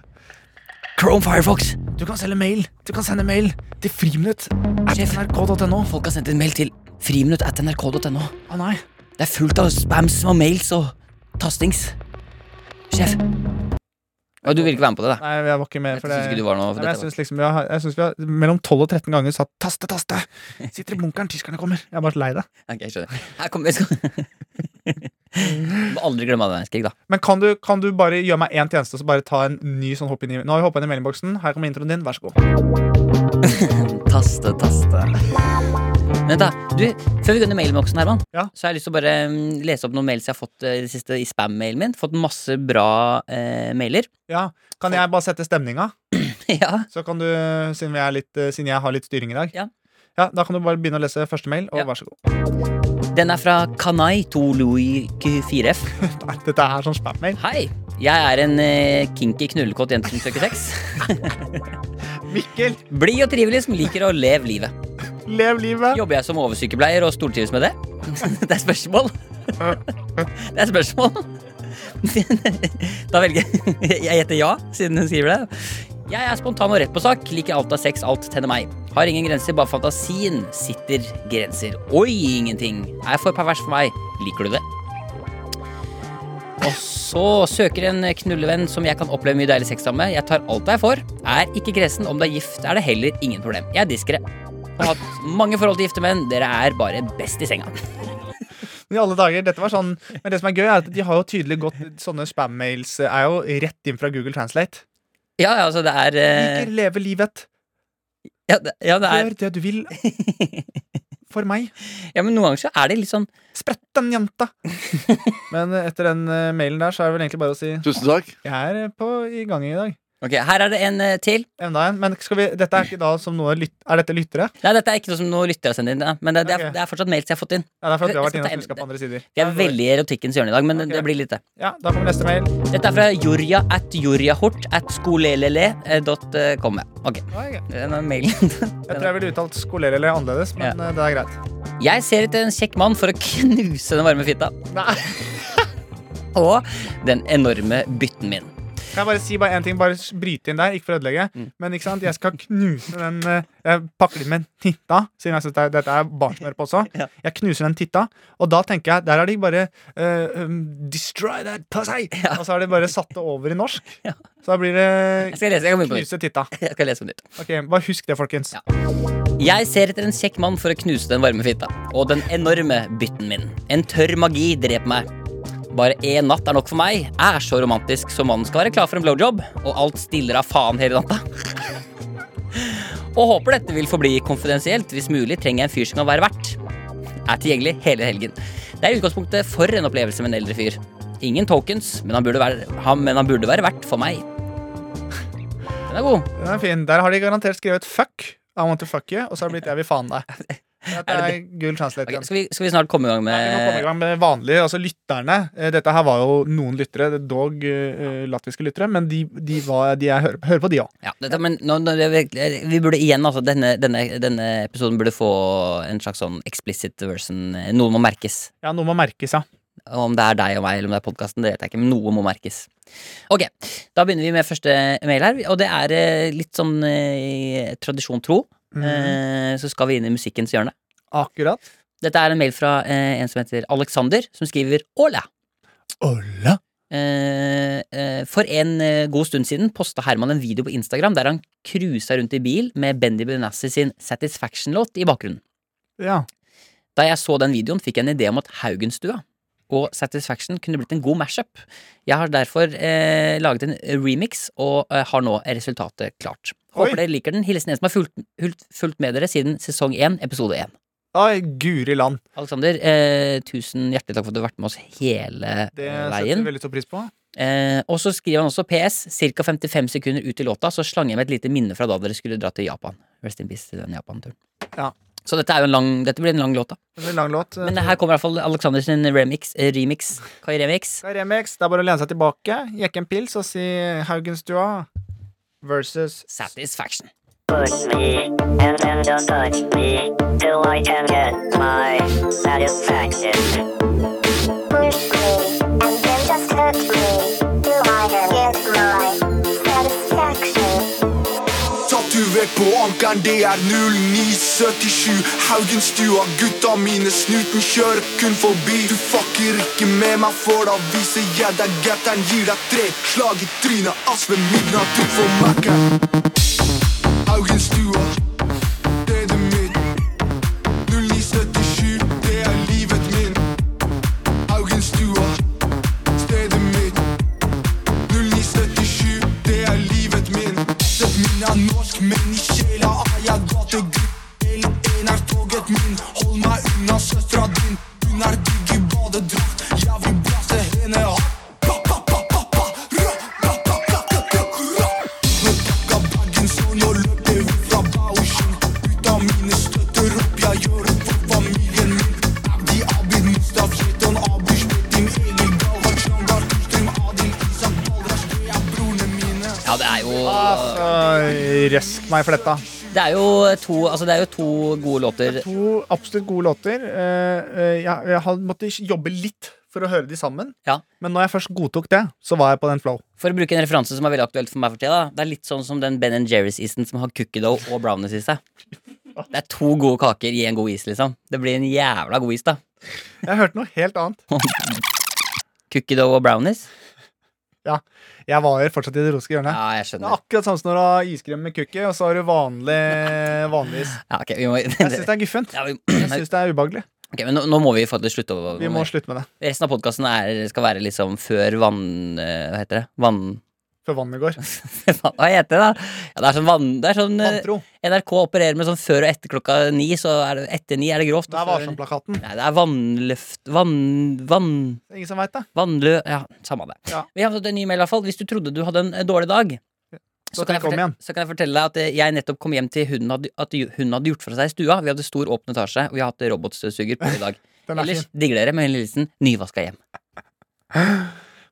Speaker 3: Chrome Firefox.
Speaker 2: Du kan selge mail. Du kan sende mail til friminutt.
Speaker 3: Sjef.
Speaker 2: nrk.no.
Speaker 3: Folk har sendt en mail til friminutt at nrk.no.
Speaker 2: Å nei.
Speaker 3: Det er fullt av spams og mails og tastings. Sjef. Ja, du vil ikke være med på det, da?
Speaker 2: Nei, jeg var ikke med.
Speaker 3: Jeg
Speaker 2: For det.
Speaker 3: syns ikke du var noe
Speaker 2: Nei,
Speaker 3: for
Speaker 2: men jeg
Speaker 3: dette.
Speaker 2: syns liksom vi har, jeg synes vi har mellom 12 og 13 ganger satt 'taste, taste'. Sitter i bunkeren, tyskerne kommer. Jeg er bare så lei det.
Speaker 3: da. Ok, jeg skjønner. Her kommer vi skal... Må aldri glemme annen verdenskrig, da.
Speaker 2: Men kan du, kan du bare gjøre meg én tjeneste og så bare ta en ny sånn hopp inn i Nå har vi hoppa inn i mailinnboksen. Her kommer introen din. Vær så god.
Speaker 3: Taste, taste. Vent, da. Du, før vi går inn i mailboksen, Herman,
Speaker 2: Ja.
Speaker 3: så har jeg lyst til å bare mm, lese opp noen mails jeg har fått eh, i det siste i spam-mailen min. Fått masse bra eh, mailer.
Speaker 2: Ja, Kan jeg bare sette stemninga?
Speaker 3: ja.
Speaker 2: Så kan du, siden, vi er litt, eh, siden jeg har litt styring i dag
Speaker 3: Ja.
Speaker 2: Ja, Da kan du bare begynne å lese første mail, og
Speaker 3: Ja.
Speaker 2: vær så god.
Speaker 3: Den er fra Kanai to Louis Q4F.
Speaker 2: Nei, Dette er sånn spam-mail.
Speaker 3: Hei! Jeg er en eh, kinky knullekåt jente som søker sex.
Speaker 2: Mikkel,
Speaker 3: Blid og trivelig som liker å leve livet.
Speaker 2: lev livet!
Speaker 3: Jobber jeg som oversykepleier og stortrives med det? Det er spørsmål. Det er spørsmål. Da velger jeg Jeg gjetter ja, siden hun skriver det. Jeg er spontan og rett på sak. Liker alt av sex, alt tenner meg. Har ingen grenser, bare fantasien sitter grenser. Oi, ingenting. Er for pervers for meg. Liker du det? Og så søker en knullevenn som jeg kan oppleve mye deilig sex sammen med. Jeg tar alt jeg får. Er ikke kresen. Om du er gift, er det heller ingen problem. Jeg er diskré. Har hatt mange forhold til gifte menn. Dere er bare best i senga.
Speaker 2: Men I alle dager, dette var sånn Men det som er gøy, er at de har jo tydelig gått Sånne spam-mails er jo rett inn fra Google Translate.
Speaker 3: Ja, ja, altså, det er eh,
Speaker 2: Mikkel, leve livet.
Speaker 3: ja, det, ja, det er
Speaker 2: Gjør det du vil. For meg.
Speaker 3: Ja, men noen ganger så er det litt sånn
Speaker 2: Sprett den jenta! Men eh, etter den eh, mailen der, så er det vel egentlig bare å si
Speaker 5: Tusen takk.
Speaker 2: Jeg er på, i gang i dag.
Speaker 3: Ok, Her er det en eh, til.
Speaker 2: Enda en. Men skal vi, dette er ikke da som noe lyt, Er dette lyttere?
Speaker 3: Nei, Dette er ikke noe som noen lyttere har sendt inn, ja, men det, det, er,
Speaker 2: Ok.
Speaker 3: det er fortsatt mails jeg har fått inn.
Speaker 2: Ja, det er for at vi har
Speaker 3: Jeg
Speaker 2: vært
Speaker 3: skal
Speaker 2: inne
Speaker 3: ta en-
Speaker 2: og på andre sider.
Speaker 3: Vi er veldig i erotikkens hjørne i dag, men
Speaker 2: Ok.
Speaker 3: det blir litt det.
Speaker 2: Ja, da får vi neste mail.
Speaker 3: Dette er fra jorja at jorjahort at eh, skolelele.com. Ok,
Speaker 2: Oi,
Speaker 3: den er mailen.
Speaker 2: Jeg tror jeg ville uttalt skoler eller annerledes, men eh, det er greit.
Speaker 3: Jeg ser etter en kjekk mann for å knuse den varme fitta.
Speaker 2: Nei.
Speaker 3: Og den enorme bytten min.
Speaker 2: Kan jeg bare si bare en ting, bare s- bryte inn der, ikke for å ødelegge.
Speaker 3: Mm.
Speaker 2: Men ikke sant, jeg skal knuse den eh, Jeg pakker det med en titta, siden jeg synes det er, dette er barnsmør på også.
Speaker 3: Ja.
Speaker 2: Jeg knuser den titta, og da tenker jeg Der har de bare eh, um, Destroy that pussy! Og så har de bare satt det over i norsk.
Speaker 3: Ja.
Speaker 2: Så da blir det
Speaker 3: Jeg skal lese, jeg kan begynne på nytt.
Speaker 2: knuse titta.
Speaker 3: Jeg skal lese på nytt.
Speaker 2: Ok, Bare husk det, folkens.
Speaker 3: Ja. Jeg ser etter en kjekk mann for å knuse den varme fitta. Og den enorme bytten min. En tørr magi dreper meg. Bare én natt er nok for meg. Er så romantisk som mannen skal være klar for en blowjob. Og alt stiller av faen hele natta. Og håper dette vil forbli konfidensielt. Hvis mulig trenger jeg en fyr som kan være vert. Er tilgjengelig hele helgen. Det er i utgangspunktet for en opplevelse med en eldre fyr. Ingen tokens, men han burde være, han, men han burde være vert for meg. Den er god.
Speaker 2: Den er fin. Der har de garantert skrevet 'fuck'. I want to fuck you. Og så har det blitt 'jeg vil faen deg'. Dette
Speaker 3: Er
Speaker 2: er
Speaker 3: det
Speaker 2: gull translate.
Speaker 3: Ok,
Speaker 2: igjen.
Speaker 3: skal, vi, skal vi snart komme i gang
Speaker 2: Nei, vi må komme i
Speaker 3: med
Speaker 2: gang med vanlige, altså lytterne. Eh, Dette her var jo noen lyttere, det er dog eh, latviske lyttere, men de, de, var, de jeg hører, hører på, de òg.
Speaker 3: ja, dette, men nå, nå, det er virkelig- Vi burde igjen, altså denne, denne, denne episoden burde få en slags sånn explicit version. Noe må merkes.
Speaker 2: Ja, noe må merkes, ja.
Speaker 3: Om det er deg og meg, eller om det er podkasten, det vet jeg ikke. Men noe må merkes. Ok, Da begynner vi med første mail her. Og det er eh, litt sånn eh, tradisjon tro.
Speaker 2: Mhm.
Speaker 3: Eh, så skal vi inn i musikkens hjørne.
Speaker 2: Mm. Akkurat.
Speaker 3: Dette er en mail fra eh, en som heter Alexander, som skriver 'Ola'.
Speaker 2: Olla.
Speaker 3: Eh, eh, for en eh, god stund siden posta Herman en video på Instagram der han cruisa rundt i bil med Bendy Benassi sin Satisfaction-låt i bakgrunnen.
Speaker 2: Ja.
Speaker 3: Da jeg så den videoen, fikk jeg en idé om at Haugenstua og Satisfaction kunne blitt en god mashup. Jeg har derfor eh, laget en remix og eh, har nå resultatet klart.
Speaker 2: Oi.
Speaker 3: Håper dere liker den. Hilsen en som har fulgt, fulgt, fulgt med dere siden sesong 1, episode 1.
Speaker 2: Oi, guri land.
Speaker 3: Alexander, eh, tusen hjertelig takk for at du har vært med oss hele
Speaker 2: Det
Speaker 3: eh,
Speaker 2: setter
Speaker 3: veien.
Speaker 2: vi veldig stor pris på.
Speaker 3: Eh, og så skriver han også PS, ca. 55 sekunder ut i låta, så slang jeg med et lite minne fra da dere skulle dra til Japan. Rest in peace til den Japan-turen.
Speaker 2: Ja.
Speaker 3: Så dette, er jo en lang, dette blir en lang låt, da.
Speaker 2: Det blir en lang låt.
Speaker 3: Men her kommer i hvert fall Alexander sin remix, eh, remix, Kai Remix.
Speaker 2: Skal Remix, det er bare å lene seg tilbake, jekke en pils og si Haugenstua versus
Speaker 3: Satisfaction.
Speaker 5: Push me, and then just touch me, till I can get my satisfaction.
Speaker 6: push me, and then just hurt me, till I can get my satisfaction.
Speaker 7: Tatovert på ankeren, det er 0977 Haugenstua, gutta mine, snuten kjører kun forbi Du fucker ikke med meg, for da viser jeg deg gatteren Gir deg tre slag i trynet, ass ved midnatt du får makkeren Haugenstua, stedet mitt 0977, det er livet min Haugenstua, stedet mitt 0977, det er livet min. Sett min er norsk, men i sjela er jeg gategutt. Hele en er toget min. Hold meg unna søstera din. Hun er digg i badedrakt. Jeg vil blaste henne hardt. Pa, pa, pa, pa, pa. Ra, ra, pa, pa, pa, pa, ra. Nå pakka bagen, så nå løper vi fra Bauschen. Gutta mine støtter opp, jeg gjør det for familien min. Abdi, Abid, Mustaf, Kjetan, Abu, Shmetim, Egil, Galvan, Shangar, Kustrim, Adil, Isak, Balras, det er brorene mine.
Speaker 3: Ja, det er jo
Speaker 2: Altså, Røsk meg i fletta.
Speaker 3: Det er jo to, altså, det er jo to gode låter.
Speaker 2: To absolutt gode låter. Eh, eh, Jeg, jeg har måttet jobbe litt for å høre de sammen,
Speaker 3: Ja.
Speaker 2: men når jeg først godtok det, så var jeg på den flow.
Speaker 3: For å bruke en referanse som er veldig aktuelt for meg for tida, da. Det er litt sånn som den Ben Jerry's-isen som har cookie dough og brownies i seg. Det er to gode kaker i en god is, liksom. Det blir en jævla god is, da.
Speaker 2: Jeg hørte noe helt annet.
Speaker 3: Cookie dough og brownies?
Speaker 2: Ja, jeg var fortsatt i det roske hjørnet.
Speaker 3: Ja, jeg
Speaker 2: Det er
Speaker 3: skjønner.
Speaker 2: akkurat samme som når du har iskrem med cookie, og så har du vanlig vanligvis.
Speaker 3: Ja, ok, vi må,
Speaker 2: Jeg syns det er guffent.
Speaker 3: ja, vi,
Speaker 2: Jeg syns det er ubehagelig.
Speaker 3: ok, men nå, nå må vi faktisk slutte å
Speaker 2: Vi må slutte med det
Speaker 3: Resten av podkasten skal være liksom før vann... eh, Hva heter det? Vann...
Speaker 2: før vannet går.
Speaker 3: Faen, Hva heter det, da? Ja, det er sånn vann... Det er sånn eh,
Speaker 2: Vantro.
Speaker 3: NRK opererer med sånn før og etter klokka ni, så er det etter ni er det grovt.
Speaker 2: Det er
Speaker 3: og før-
Speaker 2: Varsom-plakaten.
Speaker 3: Nei, det er vannløft... Vann... vann
Speaker 2: Ingen som veit det.
Speaker 3: vannlø... Ja, samme det.
Speaker 2: Ja.
Speaker 3: Vi har fått en ny mail, i hvert fall. Hvis du trodde du hadde en eh, dårlig dag, så
Speaker 2: Så tenk
Speaker 3: kan, jeg
Speaker 2: om
Speaker 3: fortelle,
Speaker 2: igjen.
Speaker 3: så kan jeg fortelle deg at eh, jeg nettopp kom hjem til hunden hadde, at ju- hunden hadde gjort fra seg i stua. Vi hadde stor åpen etasje, og vi har hatt robotstøvsuger på i dag.
Speaker 2: Den er
Speaker 3: Ellers
Speaker 2: fin.
Speaker 3: digger dere med Helene Lilsen. Nyvaska hjem.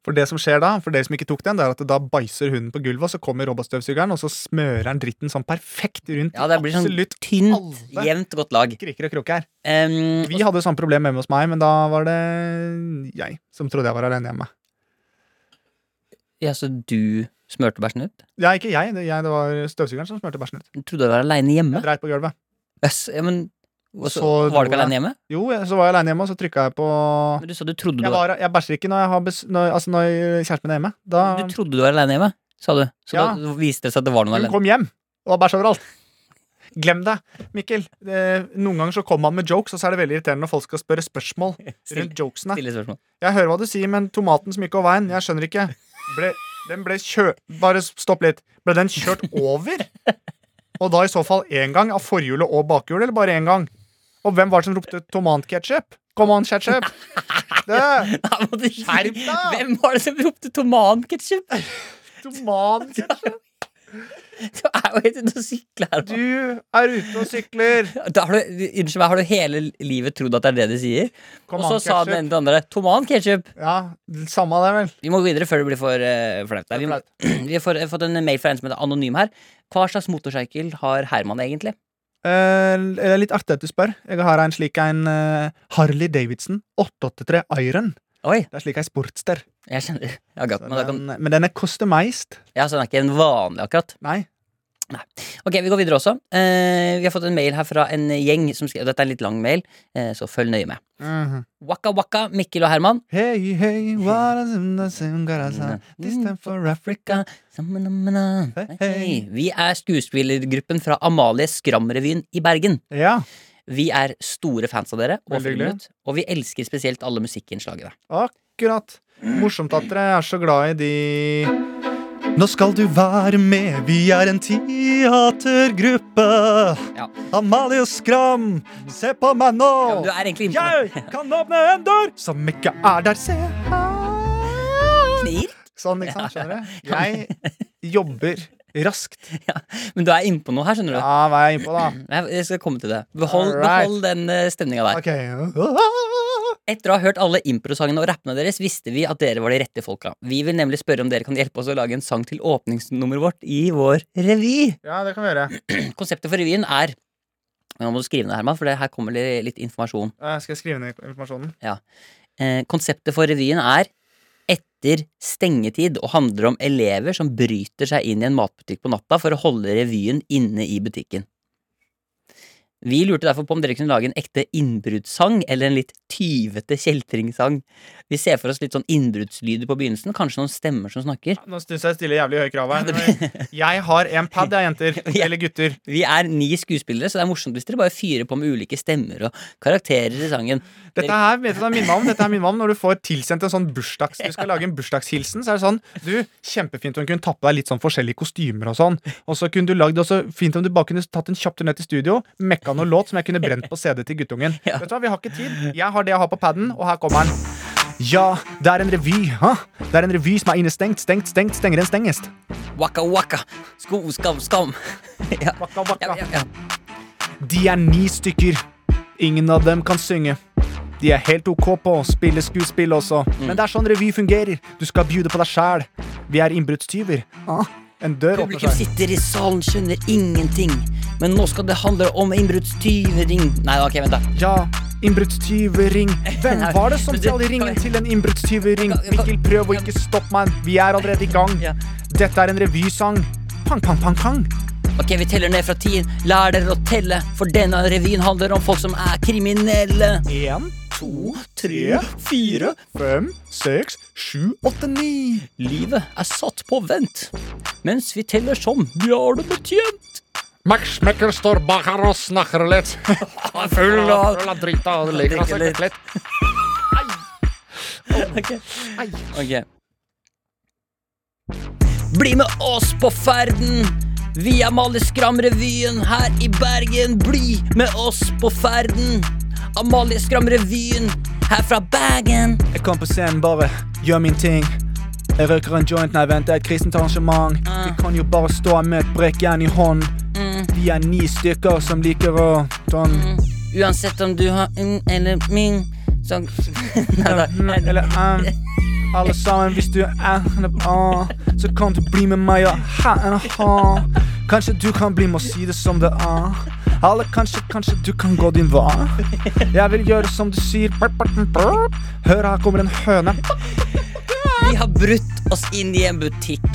Speaker 2: For det som skjer da, for dere som ikke tok den, det er at da bæsjer hunden på gulvet, og så kommer robotstøvsugeren, og så smører han dritten sånn perfekt rundt
Speaker 3: Ja, det blir sånn
Speaker 2: absolutt
Speaker 3: tynt,
Speaker 2: alle.
Speaker 3: jevnt godt lag.
Speaker 2: kriker og kroker.
Speaker 3: Em,
Speaker 2: Vi hadde jo samme problem hjemme hos meg, men da var det jeg som trodde jeg var alene hjemme.
Speaker 3: ja, så du smurte bæsjen ut?
Speaker 2: Ja, ikke jeg, det, jeg, det var støvsugeren som smurte bæsjen ut.
Speaker 3: Du trodde du var aleine hjemme?
Speaker 2: Jeg dreit på gulvet.
Speaker 3: Yes, ja, men og så,
Speaker 2: Så
Speaker 3: Var du ikke
Speaker 2: dro jeg.
Speaker 3: aleine hjemme?
Speaker 2: Jo, jeg- så var jeg alene hjemme, og så trykka jeg på
Speaker 3: Men du sa du trodde du
Speaker 2: Jeg,
Speaker 3: var,
Speaker 2: var, jeg bæsjer ikke når, jeg har bes, når, altså når kjæresten min er hjemme. Da
Speaker 3: du trodde du var aleine hjemme, sa du. Så
Speaker 2: Ja.
Speaker 3: da viste det seg at det var noen
Speaker 2: hun
Speaker 3: alene.
Speaker 2: kom hjem, og det var bæsj overalt. Glem det, Mikkel. Eh, noen ganger så kommer han med jokes, og så er det veldig irriterende når folk skal spørre spørsmål
Speaker 3: Stille-
Speaker 2: rundt jokesene.
Speaker 3: Stille spørsmål.
Speaker 2: Jeg hører hva du sier, men tomaten som gikk over veien, jeg skjønner ikke. Ble, den ble kjø... Bare stopp litt. Ble den kjørt over? Og da i så fall én gang av forhjulet og bakhjulet, eller bare én gang? Og hvem var det som ropte tomatketchup? Come on, ketchup! Det
Speaker 3: Nei, må du-
Speaker 2: Skjerp deg!
Speaker 3: Hvem var det som ropte tomanketsjup?
Speaker 2: Tomatketchup!
Speaker 3: Du er jo helt ute og sykler her. nå.
Speaker 2: Du er ute og sykler!
Speaker 3: Da har du, unnskyld meg, har du hele livet trodd at det er det de sier? Og
Speaker 2: Come
Speaker 3: så
Speaker 2: on,
Speaker 3: sa den
Speaker 2: ketchup.
Speaker 3: ene til den andre toman ketchup.
Speaker 2: Ja, samme det, vel.
Speaker 3: Vi må gå videre før det blir for eh, flaut. Nei, Vi, må- vi har fått- fått en mail fra en som heter Anonym her. Hva slags motorsykkel har Herman egentlig?
Speaker 2: Eh, det er litt artig at du spør. Jeg har en slik en eh, Harley Davidson 883 Iron.
Speaker 3: Oi,
Speaker 2: Det er slik ei sportster.
Speaker 3: jeg skjønner. Ja, godt, men da kan,
Speaker 2: Men, men den er customized.
Speaker 3: ja, så den er ikke en vanlig akkurat.
Speaker 2: Nei.
Speaker 3: Ok, Vi går videre også. Eh, vi har fått en mail her fra en gjeng som skrev Dette er en litt lang mail, eh, så følg nøye med. Waka waka, Mikkel og Herman.
Speaker 2: Hey, hey, what is in the
Speaker 3: Mm,
Speaker 2: Sungarasa? This time for Africa.
Speaker 3: Sammanamana.
Speaker 2: Hei,
Speaker 3: Hei. Vi er skuespillergruppen fra Amalie Skram-revyen i Bergen.
Speaker 2: Ja.
Speaker 3: Vi er store fans av dere, og,
Speaker 2: Veldig hyggelig.
Speaker 3: filmet, og vi elsker spesielt alle musikkinnslagene.
Speaker 2: Akkurat. Morsomt at dere er så glad i de Nå skal du være med, vi er en teatergruppe.
Speaker 3: Ja.
Speaker 2: Amalie Skram, se på meg nå!
Speaker 3: Ja, men du er egentlig inne på
Speaker 2: Jeg kan åpne en dør som ikke er der, se her.
Speaker 3: Knir?
Speaker 2: Sånn, ikke sant? Skjønner du? Jeg jobber raskt.
Speaker 3: Ja, men du er inne på noe her, skjønner du.
Speaker 2: Ja, hva er jeg inne på, da?
Speaker 3: Jeg- Jeg skal komme til det. Behold,
Speaker 2: Alright.
Speaker 3: behold den uh, stemninga der.
Speaker 2: Ok.
Speaker 3: Etter å ha hørt alle improsangene og rappene deres, visste vi at dere var de rette folka. Vi vil nemlig spørre om dere kan hjelpe oss å lage en sang til åpningsnummeret vårt i vår revy.
Speaker 2: Ja, det kan vi gjøre.
Speaker 3: Konseptet for revyen er Nå må du skrive ned, Herman, for det her kommer li- litt informasjon.
Speaker 2: Eh, Skal jeg skrive ned informasjonen?
Speaker 3: Eh, konseptet for revyen er etter stengetid og handler om elever som bryter seg inn i en matbutikk på natta for å holde revyen inne i butikken. Vi lurte derfor på om dere kunne lage en ekte innbruddssang eller en litt tyvete kjeltringsang. Vi ser for oss litt sånn innbruddslyder på begynnelsen, kanskje noen stemmer som snakker.
Speaker 2: Nå stusser jeg stille jævlig høye krav her. Jeg har en pad, jeg, jenter. Eller gutter.
Speaker 3: Vi er ni skuespillere, så det er morsomt hvis dere bare fyrer på med ulike stemmer og karakterer i sangen.
Speaker 2: Dette her vet du hva jeg minner meg om Dette her minner meg om når du får tilsendt en sånn bursdags Du skal lage en bursdagshilsen, så er det sånn Du, kjempefint om du kunne tatt på deg litt sånn forskjellige kostymer og sånn. Og så kunne du lagd også Fint om du bare kunne tatt en kjapp tur ned til studio, mekka noen låt som jeg kunne brent på CD til guttungen.
Speaker 3: Ja.
Speaker 2: Vet du hva, vi har ikke tid. Jeg har det jeg har på paden, og her kommer den. Ja, det er en revy, ha? Det er en revy som er innestengt, stengt, stengt, stengere enn stengest.
Speaker 3: Waka waka, sko, skam, skam. ja.
Speaker 2: Bakka,
Speaker 3: Ja,
Speaker 2: bakka.
Speaker 3: ja, ja.
Speaker 2: De er ni stykker. Ingen av dem kan synge. De er helt ok på å spille skuespill også,
Speaker 3: Mm.
Speaker 2: men det er sånn revy fungerer. Du skal bjude på deg sjæl. Vi er innbruddstyver. Ah, en dør åpner
Speaker 3: Publikum
Speaker 2: seg.
Speaker 3: sitter i salen, skjønner ingenting. Men nå skal det handle om innbruddstyvering. Nei, ok, vent da.
Speaker 2: Ja, innbruddstyvering. Hvem
Speaker 3: Nei,
Speaker 2: var det som
Speaker 3: men du,
Speaker 2: stjal i ringen
Speaker 3: kan-
Speaker 2: til en innbruddstyvering?
Speaker 3: Kan- kan-
Speaker 2: Mikkel, prøv å ikke stoppe meg. Vi er allerede i gang.
Speaker 3: Ja.
Speaker 2: Dette er en revysang. Pang, pang, pang, pang.
Speaker 3: Ok, vi teller ned fra ti. Lær dere å telle, for denne revyen handler om folk som er kriminelle.
Speaker 2: Én, to, tre, fire, fem, seks, sju, åtte, ni.
Speaker 3: Livet er satt på vent. Mens vi teller som Bjarne Betjent.
Speaker 8: Max Mekker står bak her og snakker litt.
Speaker 3: Full av
Speaker 8: Full av drita og leker
Speaker 3: Drikker
Speaker 8: seg
Speaker 3: litt.
Speaker 8: litt.
Speaker 3: Ok. Ok. Bli med oss på ferden. Vi er Amalie Skram-revyen her i Bergen. Bli med oss på ferden. Amalie Skram-revyen her fra Bergen.
Speaker 2: Jeg kom på scenen, bare gjør min ting. Jeg røyker en joint, nei vent, det er et kristent arrangement. Vi kan jo bare stå med et brekkjern i hånd. Vi er ni stykker som liker å sånn
Speaker 3: Uansett om du har en eller min så... Nei, da.
Speaker 2: Eller eh, Alle sammen, hvis du er en ah, så kan du bli med meg og ha en ha. Kanskje du kan bli med og si det som det er. Alle, kanskje, kanskje du kan gå din vei. Jeg vil gjøre som du sier. Hør, her kommer en høne.
Speaker 3: Vi har brutt oss inn i en butikk.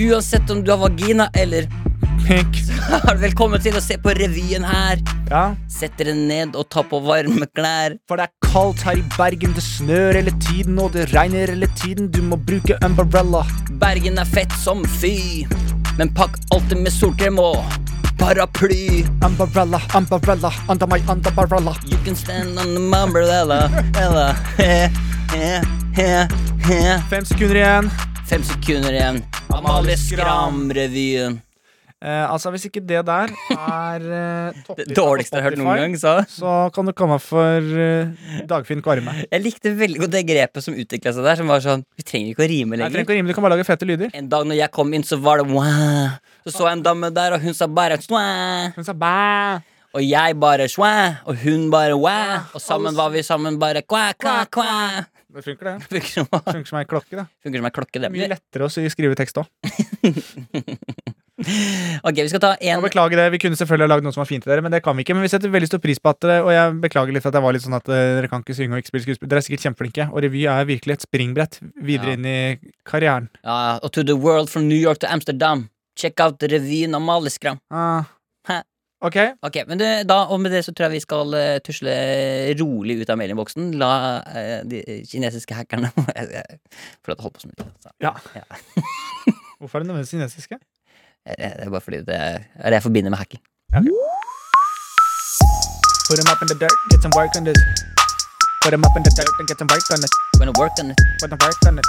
Speaker 3: Uansett om du har vagina eller
Speaker 2: Pink.
Speaker 3: Velkommen til å se på revyen her.
Speaker 2: Ja.
Speaker 3: Sett dere ned og ta på varme klær.
Speaker 2: For det er kaldt her i Bergen, det snør hele tiden, og det regner hele tiden. Du må bruke umbrella.
Speaker 3: Bergen er fett som fy. Men pakk alltid med solkrem og paraply.
Speaker 2: Umbrella, umbrella, under my umbrella.
Speaker 3: You can stand on the umbrella. Ella. He, he, he, he.
Speaker 2: Fem sekunder igjen.
Speaker 3: Fem sekunder igjen. Amalie Skram-revyen.
Speaker 2: Eh, altså, hvis ikke det der er eh,
Speaker 3: Det
Speaker 2: topplista på
Speaker 3: dårligste jeg har hørt noen
Speaker 2: Spotify,
Speaker 3: gang, sa
Speaker 2: Så kan du komme for eh, Dagfinn Kvarme.
Speaker 3: Jeg likte veldig godt det grepet som utvikla seg der, som var sånn Vi trenger ikke å rime
Speaker 2: Jeg trenger
Speaker 3: lenger.
Speaker 2: ikke å rime, du kan bare lage fete lyder.
Speaker 3: En dag når jeg kom inn, så var det wow. Så så jeg en dame der, og hun sa bare wow.
Speaker 2: Hun sa bæ.
Speaker 3: Og jeg bare wow. Og hun bare wow. Og sammen var vi sammen bare kva, kva, kva.
Speaker 2: Det funker, det.
Speaker 3: Funker som-
Speaker 2: Funker som ei klokke, det.
Speaker 3: funker som en klokke, det.
Speaker 2: Mye lettere å sy- skrive tekst òg.
Speaker 3: Ok, vi skal ta en
Speaker 2: Beklager det. Vi kunne selvfølgelig ha lagd noe som var fint til dere, men det kan vi ikke. Men vi setter veldig stor pris på at dere Og jeg beklager litt at jeg var litt sånn at eh, dere kan ikke synge og ikke spille skuespill. Dere er sikkert kjempeflinke, og revy er virkelig et springbrett
Speaker 3: Ja.
Speaker 2: videre inn i karrieren.
Speaker 3: Ja, og To the world from New York to Amsterdam. Check out revyen om Maleskram.
Speaker 2: Ah.
Speaker 3: Hæ.
Speaker 2: Ok,
Speaker 3: Ok, men det, da, og med det så tror jeg vi skal eh, tusle rolig ut av mailinboksen. La eh, de kinesiske hackerne Jeg- jeg- For at det holdt på så mye. altså. Så.
Speaker 2: Ja.
Speaker 3: Ja.
Speaker 2: Hvorfor er det nødvendigvis kinesiske?
Speaker 3: Eh, Det er bare fordi det er det jeg forbinder med hacking.
Speaker 2: Put 'em up in the dirt, get some work on this. Put 'em up in the dirt and get some work on it.
Speaker 3: When I work on it.
Speaker 2: Put some work on it.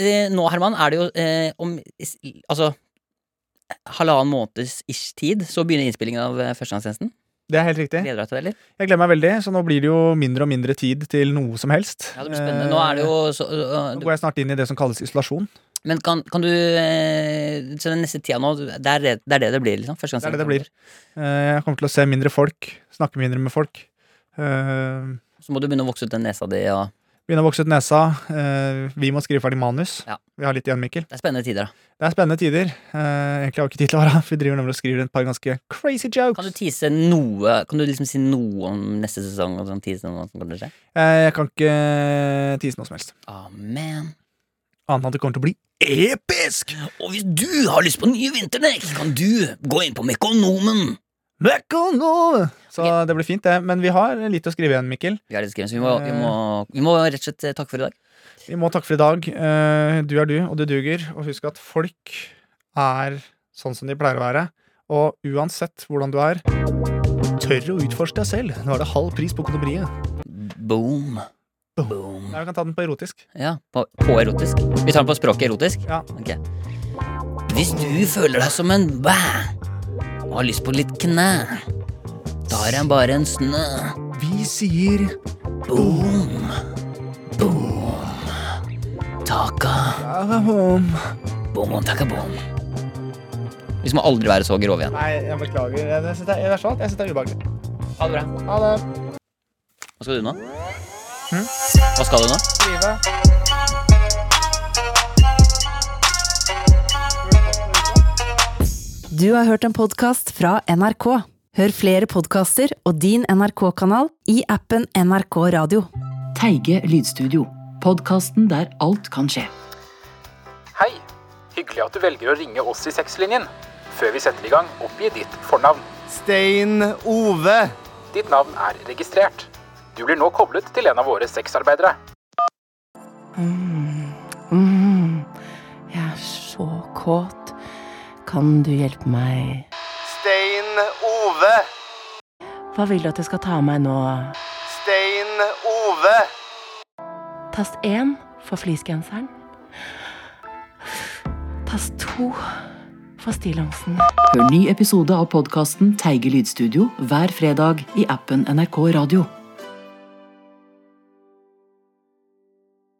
Speaker 3: Eh, Nå, Herman, er det jo eh, om is- Altså halvannen måneds ish tid, så begynner innspillingen av eh, Førstegangstjenesten.
Speaker 2: Det er helt riktig.
Speaker 3: Gleder du deg til det, eller?
Speaker 2: Jeg gleder meg veldig, så nå blir det jo mindre og mindre tid til noe som helst.
Speaker 3: Ja, det blir spennende. Nå er det jo så, eh,
Speaker 2: Nå går jeg snart inn i det som kalles isolasjon.
Speaker 3: Men kan, kan du eh, Så den neste tida nå, det er det det, er det, det blir? liksom første gang
Speaker 2: Det er det det blir. Eh, Jeg kommer til å se mindre folk, snakke mindre med folk. Eh,
Speaker 3: Så må du begynne å vokse ut den nesa di. Og
Speaker 2: Begynner å vokse ut nesa. Eh, Vi må skrive ferdig manus.
Speaker 3: Ja.
Speaker 2: Vi har litt igjen, Mikkel.
Speaker 3: det er spennende tider. da
Speaker 2: Det er spennende tider. Eh, Egentlig har vi ikke tid til å være her. Vi driver nemlig og skriver et par ganske crazy jokes.
Speaker 3: Kan du tease noe Kan du liksom si noe om neste sesong? Og sånn tease noe som kommer til å skje?
Speaker 2: Eh, Jeg kan ikke tise noe som helst.
Speaker 3: Amen.
Speaker 2: Annet enn at det kommer til å bli episk!
Speaker 3: Og hvis du har lyst på nye vinterdekk, kan du gå inn på Mekonomen.
Speaker 2: Mekono! Så det blir fint, det. Men vi har litt å skrive igjen, Mikkel.
Speaker 3: Vi har litt skrevet, så vi må, vi, må, vi må rett og slett eh, takke for i dag.
Speaker 2: Vi må takke for i dag. Eh, Du er du, og du duger. Og husk at folk er sånn som de pleier å være. Og uansett hvordan du er, tør å utforske deg selv. Nå er det halv pris på kondomeriet.
Speaker 3: Boom. Boom.
Speaker 2: Nei, Vi kan ta den på erotisk.
Speaker 3: Ja, på, på erotisk. Vi tar den på språket erotisk?
Speaker 2: Ja.
Speaker 3: Ok. Hvis du føler deg som en bæ og har lyst på litt knæ, tar jeg bare en snø.
Speaker 2: Vi sier
Speaker 3: Boom. Boom. Taka.
Speaker 2: Nei,
Speaker 3: Boom, taka, boom. Vi må aldri være så grove igjen.
Speaker 2: jeg beklager. Jeg syns det er, sånn jeg synes det er ubehagelig.
Speaker 3: Ha det bra.
Speaker 2: Ha det.
Speaker 3: Hva skal du nå? Hm? Hva skal du nå?
Speaker 2: Skrive.
Speaker 1: Du har hørt en podkast fra NRK. Hør flere podkaster og din NRK-kanal i appen NRK Radio.
Speaker 9: Teige lydstudio. Podkasten der alt kan skje.
Speaker 10: Hei! Hyggelig at du velger å ringe oss i sexlinjen. Før vi setter i gang, oppgi ditt fornavn.
Speaker 4: Stein Ove.
Speaker 10: Ditt navn er registrert. Du blir nå koblet til en av våre sexarbeidere.
Speaker 9: Mm, jeg er så kåt. Kan du hjelpe meg?
Speaker 4: Stein Ove.
Speaker 9: Hva vil du at jeg skal ta av meg nå?
Speaker 4: Stein Ove.
Speaker 9: Tast én for fleecegenseren. Tast to for stillongsen. Hør ny episode av podkasten Teige lydstudio hver fredag i appen NRK Radio.